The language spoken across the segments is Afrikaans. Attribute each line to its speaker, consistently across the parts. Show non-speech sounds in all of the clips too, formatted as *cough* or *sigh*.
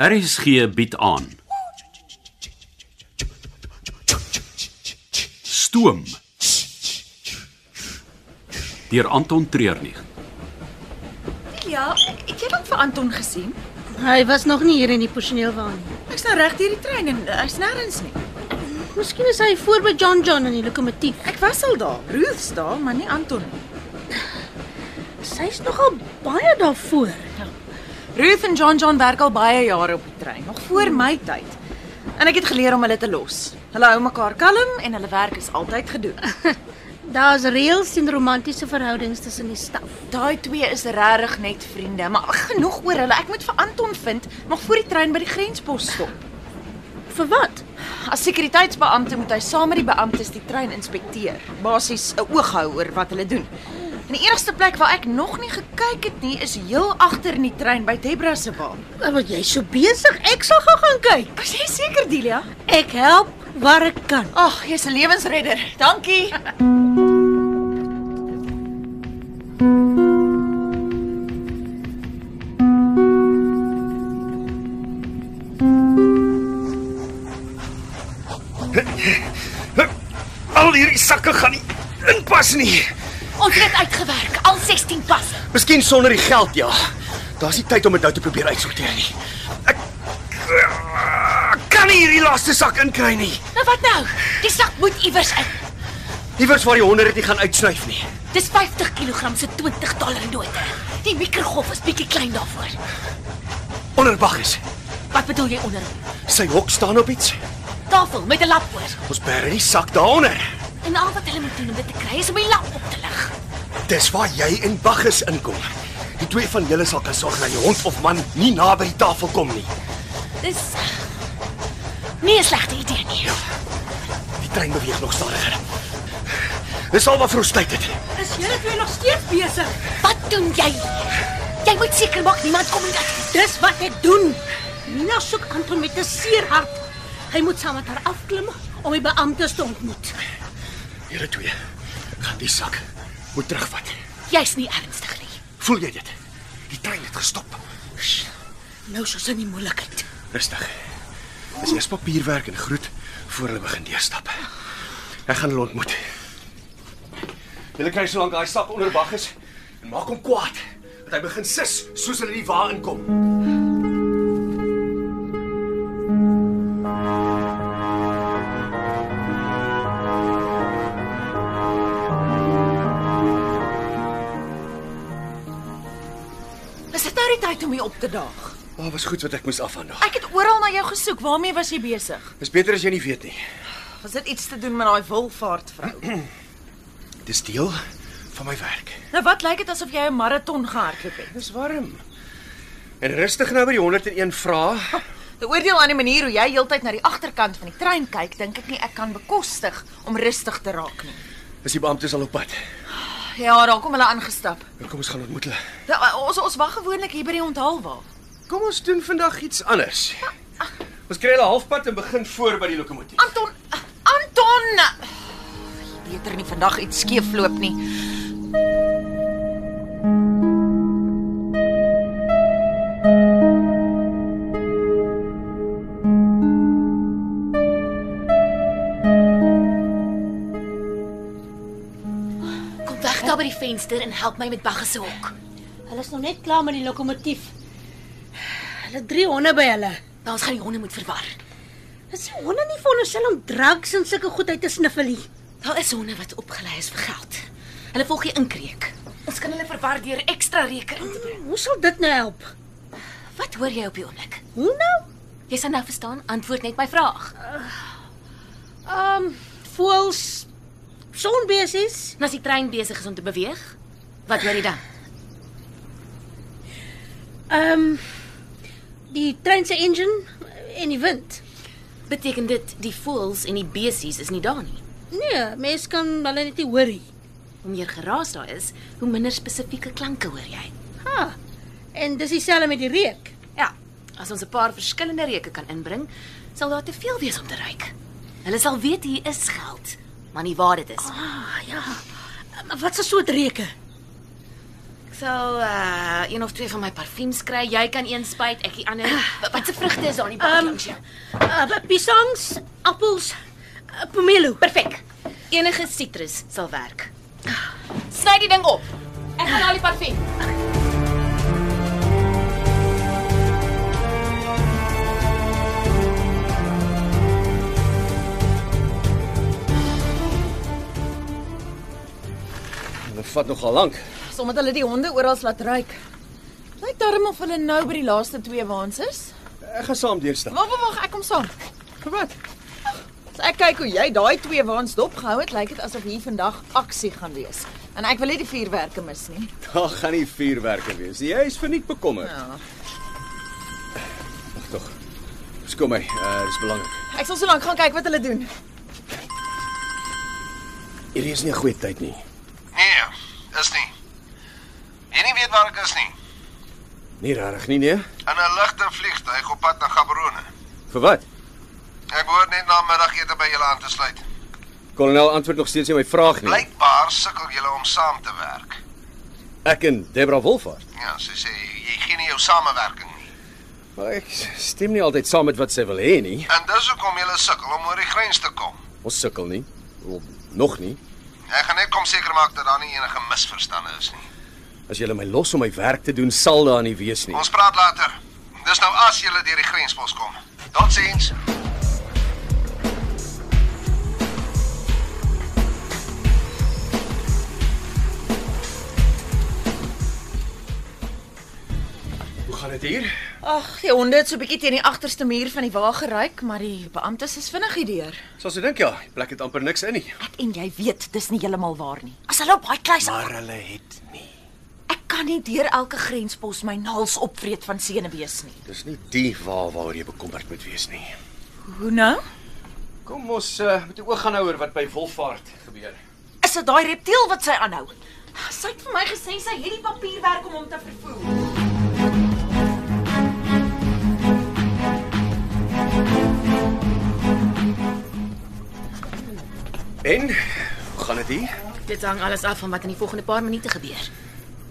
Speaker 1: RSG bied aan. Stoom. Deur Anton Treurnig.
Speaker 2: Ja, het jy dit vir Anton gesien?
Speaker 3: Hy was nog nie hier in die personeelwaan nie.
Speaker 2: Ek's nou reg deur die trein en uh, hy's nêrens nie.
Speaker 3: Miskien is hy voor by John John in die lokomotief.
Speaker 2: Ek was al daar. Ruth's daar, maar nie Anton nie.
Speaker 3: Sy's nogal baie daarvoor.
Speaker 2: Ruth en John John werk al baie jare op die trein, nog voor my tyd. En ek het geleer om hulle te los. Hulle hou mekaar kalm en hulle werk is altyd gedoen. *laughs*
Speaker 3: Daar's reëls en romantiese verhoudings tussen die staf.
Speaker 2: Daai twee is regtig net vriende, maar ag, genoeg oor hulle. Ek moet vir Anton vind, nog voor die trein by die grenspos stop.
Speaker 3: Vir wat?
Speaker 2: As sekuriteitsbeampte moet hy saam met die beamptes die trein inspekteer. Basies 'n oog hou oor wat hulle doen. En die enigste plek waar ek nog nie gekyk het nie is heel agter in die trein by Debra se wa.
Speaker 3: Wat jy so besig? Ek sal gou gaan kyk.
Speaker 2: Is jy seker, Delia?
Speaker 3: Ek help waar ek kan.
Speaker 2: Ag, jy's 'n lewensredder. Dankie.
Speaker 4: Al hierdie sakke gaan nie inpas nie.
Speaker 5: Ons het dit uitgewerk, al 16 passe.
Speaker 4: Miskien sonder die geld, ja. Daar's nie tyd om dit nou te probeer uitsorteer nie. Ek ek kan nie hierdie laaste sak inkry nie.
Speaker 5: Nou wat nou? Die sak moet iewers in.
Speaker 4: Iewers waar die honder dit nie gaan uitsnyf nie.
Speaker 5: Dis 50 kg se 20 dollar note. Die mikrogolf is bietjie klein daarvoor.
Speaker 4: Onder baggies.
Speaker 5: Wat bedoel jy onder?
Speaker 4: Sy hok staan op iets.
Speaker 5: Tafel met 'n lap oor.
Speaker 4: Ons bære die sak daaronder.
Speaker 5: En al wat hulle moet doen om dit te kry is om die lap op te lig.
Speaker 4: Dis waar jy en baggies inkom. Die twee van julle sal kan sorg dat die hond of man nie naby die tafel kom nie.
Speaker 5: Dis eh, nie 'n slegte idee nie.
Speaker 4: Die trein beweeg nog stadiger. Dis al wat vir ons tyd het.
Speaker 3: Is julle twee nog steeds besig?
Speaker 5: Wat doen jy? Jy moet seker maak niemand kom en dat
Speaker 3: Dis wat ek doen. Mina soek Anton met 'n seer hart. Hy moet saam met haar afklim om die beamptes te ontmoet.
Speaker 4: Julle twee gaan die sak moet terugvat.
Speaker 5: jy's nie ernstig nie.
Speaker 4: Voel jy dit? Die trein het gestop.
Speaker 3: Nou sou sy nie moeilikheid.
Speaker 4: Rustig. Dis eers papierwerk en groet voor hulle begin deurstap. Ek gaan hulle ontmoet. Hulle kry so lank daai sak onder wag is en maak hom kwaad dat hy begin sis soos hulle die wa inkom.
Speaker 2: Is dit nou die tyd om hier op te daag?
Speaker 4: Maar oh, was goed wat ek moes afhandel.
Speaker 2: Ek het oral na jou gesoek. Waarmee was jy besig?
Speaker 4: Dis beter as jy nie weet nie.
Speaker 2: Was dit iets te doen met daai wilvaartvrou?
Speaker 4: Dis deel van my werk.
Speaker 2: nou wat lyk dit asof jy 'n maraton gehardloop het?
Speaker 4: Dis warm. En rustig nou by die 101 vrae.
Speaker 2: Die oordeel aan die manier hoe jy heeltyd na die agterkant van die trein kyk, dink ek nie ek kan bekostig om rustig te raak nie.
Speaker 4: Is die beamptes al op pad?
Speaker 2: Ja, daar kom hulle aangestap.
Speaker 4: Nou kom ons gaan ontmoet hulle.
Speaker 2: Da, ons ons wag gewoonlik hier by die onthaalwa.
Speaker 4: Kom ons doen vandag iets anders. Ons kry hulle halfpad en begin voor by die lokomotief.
Speaker 2: Anton, Anton. Beter er nie vandag iets skeefloop nie.
Speaker 5: Kom weg daar by die venster en help my met bagge se hok.
Speaker 3: Hulle is nog net klaar met die lokomotief. Hulle 300 by hulle.
Speaker 5: Nou ons gaan die honde moet verwar.
Speaker 3: Is die honde nie veronderstel om drugs en sulke goed uit te sniffel nie?
Speaker 5: Daar is honde wat opgelei is vir geld. Hulle volg die inkreek. Ons kan hulle verwar deur ekstra reke in te bring.
Speaker 3: Hoe sal dit nou help?
Speaker 5: Hm, Wat hoor jy op die oomblik?
Speaker 3: Hoe nou?
Speaker 5: Jy sal nou verstaan, antwoord net my vraag.
Speaker 3: Ehm, um, voels sonbesies.
Speaker 5: En as die trein besig is om te beweeg, wat hoor jy dan?
Speaker 3: Ehm um, die trein se engine en die wind.
Speaker 5: Beteken dit die voëls en die besies is nie daar nie?
Speaker 3: Nee, mens kan hulle net nie hoor nie.
Speaker 5: Hoe meer geraas daar is, hoe minder spesifieke klanke hoor jy.
Speaker 3: Ha. En dis dieselfde met die reuk.
Speaker 5: Ja, as ons 'n paar verskillende reuke kan inbring, sal daar te veel wees om te ruik. Hulle sal weet hier is geld, maar nie waar dit is.
Speaker 3: Ehm, Ah ja. Maar wat 'n soort reuke?
Speaker 5: Ek sal uh een of twee van my parfuums kry. Jy kan een spuit, ek die ander. Wa- Wat se vrugte is daar in die
Speaker 3: Ehm,
Speaker 5: bakkie? Um,
Speaker 3: uh, piesangs, appels, uh, pomelo.
Speaker 5: Perfek. Enige sitrus sal werk. Sny die ding op. Ek gaan al die parfuum.
Speaker 4: Hulle vat nogal lank.
Speaker 2: Sommige hulle die honde oral laat ruik. Lyk darm of hulle nou by die laaste twee waans is.
Speaker 4: Ek gaan saam deurstap.
Speaker 2: Wag, wag, wag, ek kom saam. Vir Wat? As ek kyk hoe jy daai twee waans dopgehou het, lyk dit asof hier vandag aksie gaan wees. En ek wil nie die vuurwerke mis nie.
Speaker 4: Daar gaan nie vuurwerke wees nie. Jy is verniet bekommerd.
Speaker 2: Ja.
Speaker 4: Wag tog. Skom my, uh, dis belangrik.
Speaker 2: Ek sal so lank gaan kyk wat hulle doen.
Speaker 4: Hierdie is nie 'n goeie tyd nie.
Speaker 6: Nee, is nie. Jy nie weet waar ek is nie.
Speaker 4: Nie regtig nie, nee.
Speaker 6: In 'n ligte vliegtyg op pad na Gaborone.
Speaker 4: Vir wat?
Speaker 6: Ek behoort net na middagete by julle aan te sluit.
Speaker 4: Kolonel antwoord nog steeds nie my vraag nie.
Speaker 6: Blykbaar sukkel julle om saam te werk.
Speaker 4: Ek en Debra Wolfhard.
Speaker 6: Ja, sy sê jy gee nie jou samewerking nie.
Speaker 4: Maar ek stem nie altyd saam met wat sy wil hê nie.
Speaker 6: En dis hoekom julle sukkel om oor die grens te kom.
Speaker 4: Ons sukkel nie. Wel, Nog nie.
Speaker 6: Ek gaan net kom seker maak dat daar nie enige misverstande is nie.
Speaker 4: As jy my los om my werk te doen, sal daar nie wees nie.
Speaker 6: Ons praat later. Dis nou as julle deur die grenspos kom. Totsiens.
Speaker 4: Hoe gaan dit hier?
Speaker 2: Ag, die honde het so 'n bietjie teen die agterste muur van die wa geruik, maar die beamptes is vinnig hierdeur.
Speaker 4: Soos jy dink ja, die plek het amper niks in nie.
Speaker 2: Ek en jy weet, dis nie heeltemal waar nie. As hulle op daai kluis
Speaker 4: Maar hulle het nie.
Speaker 2: Ek kan nie deur elke grenspos my naels opvreet van senuwees nie.
Speaker 4: Dis nie die waar waaroor jy bekommerd moet wees nie.
Speaker 2: Hoe nou?
Speaker 4: Kom ons uh, moet 'n oog gaan hou oor wat by Wolfhard gebeur.
Speaker 2: Is dit daai reptiel wat sy aanhou? Sy het vir my gesê sy het die papierwerk om hom te vervoer.
Speaker 4: En hoe gaan dit hier?
Speaker 5: Dit hang alles af van wat in die volgende paar minute gebeur.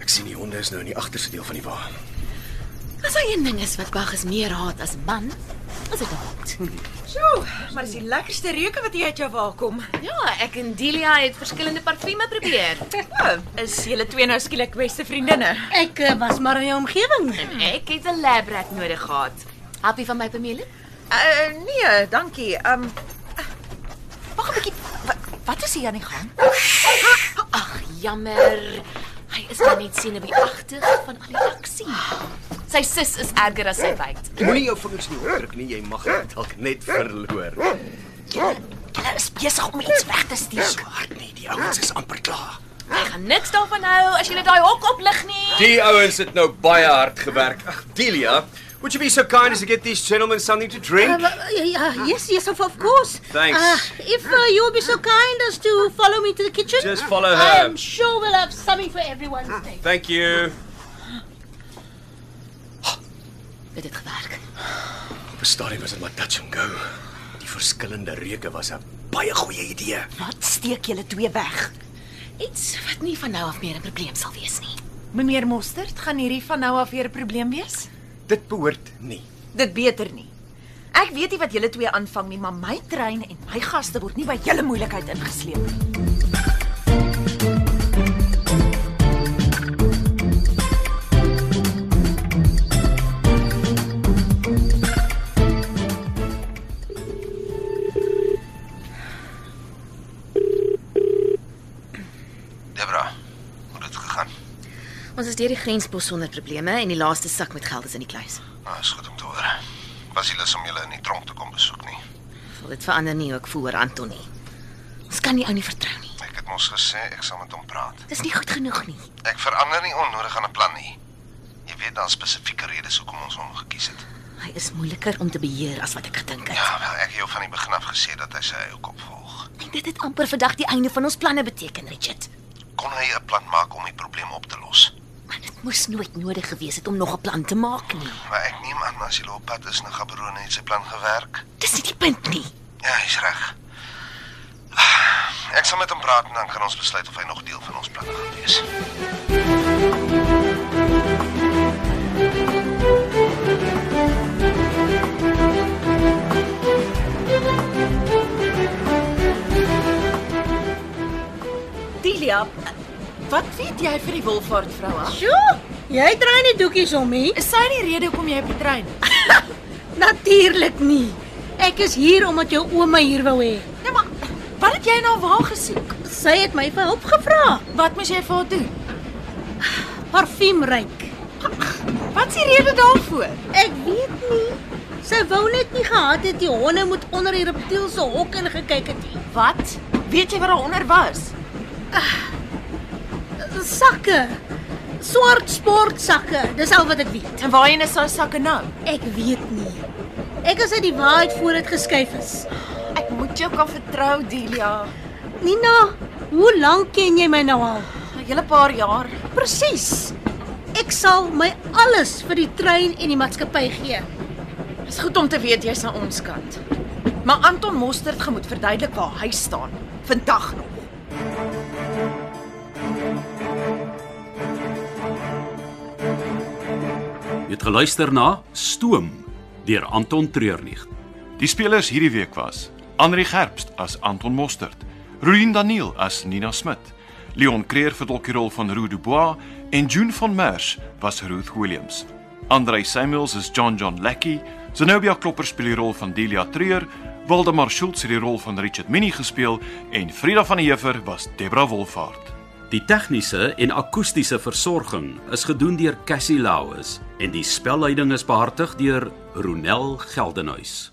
Speaker 4: Ek sien die honde is nou in die agterste deel van die wa.
Speaker 5: As daar een ding is wat Bag is meer haat as man, is dit 'n hond.
Speaker 2: Sjoe, maar dis die lekkerste reuke wat jy uit jou wa kom.
Speaker 5: Ja, ek en Delia het verskillende parfume probeer.
Speaker 2: Oh, is julle twee nou skielik beste vriendinne?
Speaker 3: Ek eh, was maar in jou omgewing.
Speaker 5: Ek het 'n labrat nodig gehad. Help jy van my Pamela?
Speaker 2: Uh nee, dankie. Um Wag 'n bietjie. Wa- Wat is hier aan die gang?
Speaker 5: Ag, jammer. Hy is maar net senuweeagtig van al die aksie. Sy sis is erger as sy byt.
Speaker 4: Moenie jou vingers nie opdruk nie, jy mag dit dalk net verloor.
Speaker 2: Hulle is besig om iets weg te steek.
Speaker 4: Hard nie, die ouens is amper klaar.
Speaker 5: Ek gaan niks daarvan hou as jy daai hok oplig nie.
Speaker 4: Die ouens het nou baie hard gewerk. Ag, Delia, would you be so kind as to get these gentlemen something to
Speaker 3: Uh,
Speaker 4: drink?
Speaker 3: yeah, yes, yes, of, of course.
Speaker 4: Thanks.
Speaker 3: Uh, if uh, you'll be so kind as to follow me to the kitchen.
Speaker 4: Just follow
Speaker 3: I
Speaker 4: her. Ah.
Speaker 3: am sure we'll have something for everyone's day.
Speaker 4: Thank you.
Speaker 5: Dit het gewerk.
Speaker 4: Op 'n stadium was dit maar touch and go. Die verskillende reuke was 'n baie goeie idee.
Speaker 2: Wat steek julle twee weg?
Speaker 5: Iets wat nie van nou af meer 'n probleem sal wees nie.
Speaker 2: Meneer Mostert, gaan hierdie van nou af weer 'n probleem wees?
Speaker 4: Dit behoort nie.
Speaker 2: Dit beter nie. Ek weet nie wat julle twee aanvang nie, maar my trein en my gaste word nie by julle moeilikheid ingesleep nie.
Speaker 6: Debra, hoe het dit gegaan?
Speaker 5: Ons is deur die grenspos sonder probleme en die laaste sak met geld is in die kluis.
Speaker 6: Nou, is goed om te hoor. Was nie lus om julle in die tronk te kom besoek nie.
Speaker 5: Sal dit verander nie hoe ek voel oor Anton nie. Ons kan nie ou nie vertrou nie.
Speaker 6: Ek het mos gesê ek sal met hom praat.
Speaker 5: Dis nie goed genoeg nie.
Speaker 6: Ek verander nie onnodig aan 'n plan nie. Jy weet daar is spesifieke redes hoekom ons hom gekies het.
Speaker 5: Hy is moeiliker om te beheer as wat ek gedink het.
Speaker 6: Ja, wel, ek het jou van die begin af gesê dat hy sy eie kop volg.
Speaker 5: En dit het amper vandag die einde van ons planne beteken, Richard.
Speaker 6: Kon hy 'n plan maak om die probleem op te los?
Speaker 5: Maar dit moes nooit nodig gewees het om nog 'n plan te maak nie.
Speaker 6: Maar ek neem aan as jy op pad is na Gaborone het sy plan gewerk.
Speaker 5: Dis nie die punt nie.
Speaker 6: Ja, hy's reg. Ah, Ek sal met hom praat en dan kan ons besluit of hy nog deel van ons plan gaan wees.
Speaker 2: Wat weet jy vir die Wilford vroue?
Speaker 3: Sjoe, jy draai nie doekies om nie.
Speaker 2: Is sy die rede hoekom jy op die trein?
Speaker 3: *laughs* Natuurlik nie. Ek is hier omdat jou ouma hier wou hê.
Speaker 2: Nee, maar wat het jy nou waar gesoek?
Speaker 3: Sy het my vir hulp gevra.
Speaker 2: Wat moes jy vir haar doen?
Speaker 3: Parfuum ryk.
Speaker 2: Wat is die rede daarvoor?
Speaker 3: Ek weet nie. Sy wou net nie gehad het die honde moet onder die reptiel se hok ingekyk het nie.
Speaker 2: Wat? Weet jy wat daaronder was?
Speaker 3: Sakke. Swart sportsakke. Dis al wat ek weet.
Speaker 2: En waarheen is daai sakke nou?
Speaker 3: Ek weet nie. Ek is uit die waarheid voor dit geskuif is.
Speaker 2: Ek moet jou kan vertrou, Delia.
Speaker 3: Nina, hoe lank ken jy my nou al?
Speaker 2: 'n Hele paar jaar.
Speaker 3: Presies. Ek sal my alles vir die trein en die maatskappy gee.
Speaker 2: Dis goed om te weet jy's aan ons kant. Maar Anton Mostert gemoed verduidelik waar hy staan vandag nog.
Speaker 1: Jy het geluister na Stoom deur Anton Treurnig.
Speaker 7: Die spelers hierdie week was: Anri Gerbst as Anton Mostert, Rulien Daniel as Nina Smit, Leon Creer vertolk die rol van Roo Dubois en June van Merwe was Ruth Williams. Andrei Samuels is John John Lackey, Zenobia Klopper speel die rol van Delia Treur, Waldemar Schultz het die rol van Richard Minnie gespeel en Frida van der Heever was Debra Wolfhard.
Speaker 1: Die tegniese en akoestiese versorging is gedoen deur Cassie Lauis en die spelleiding is behartig deur Ronel Geldenhuys.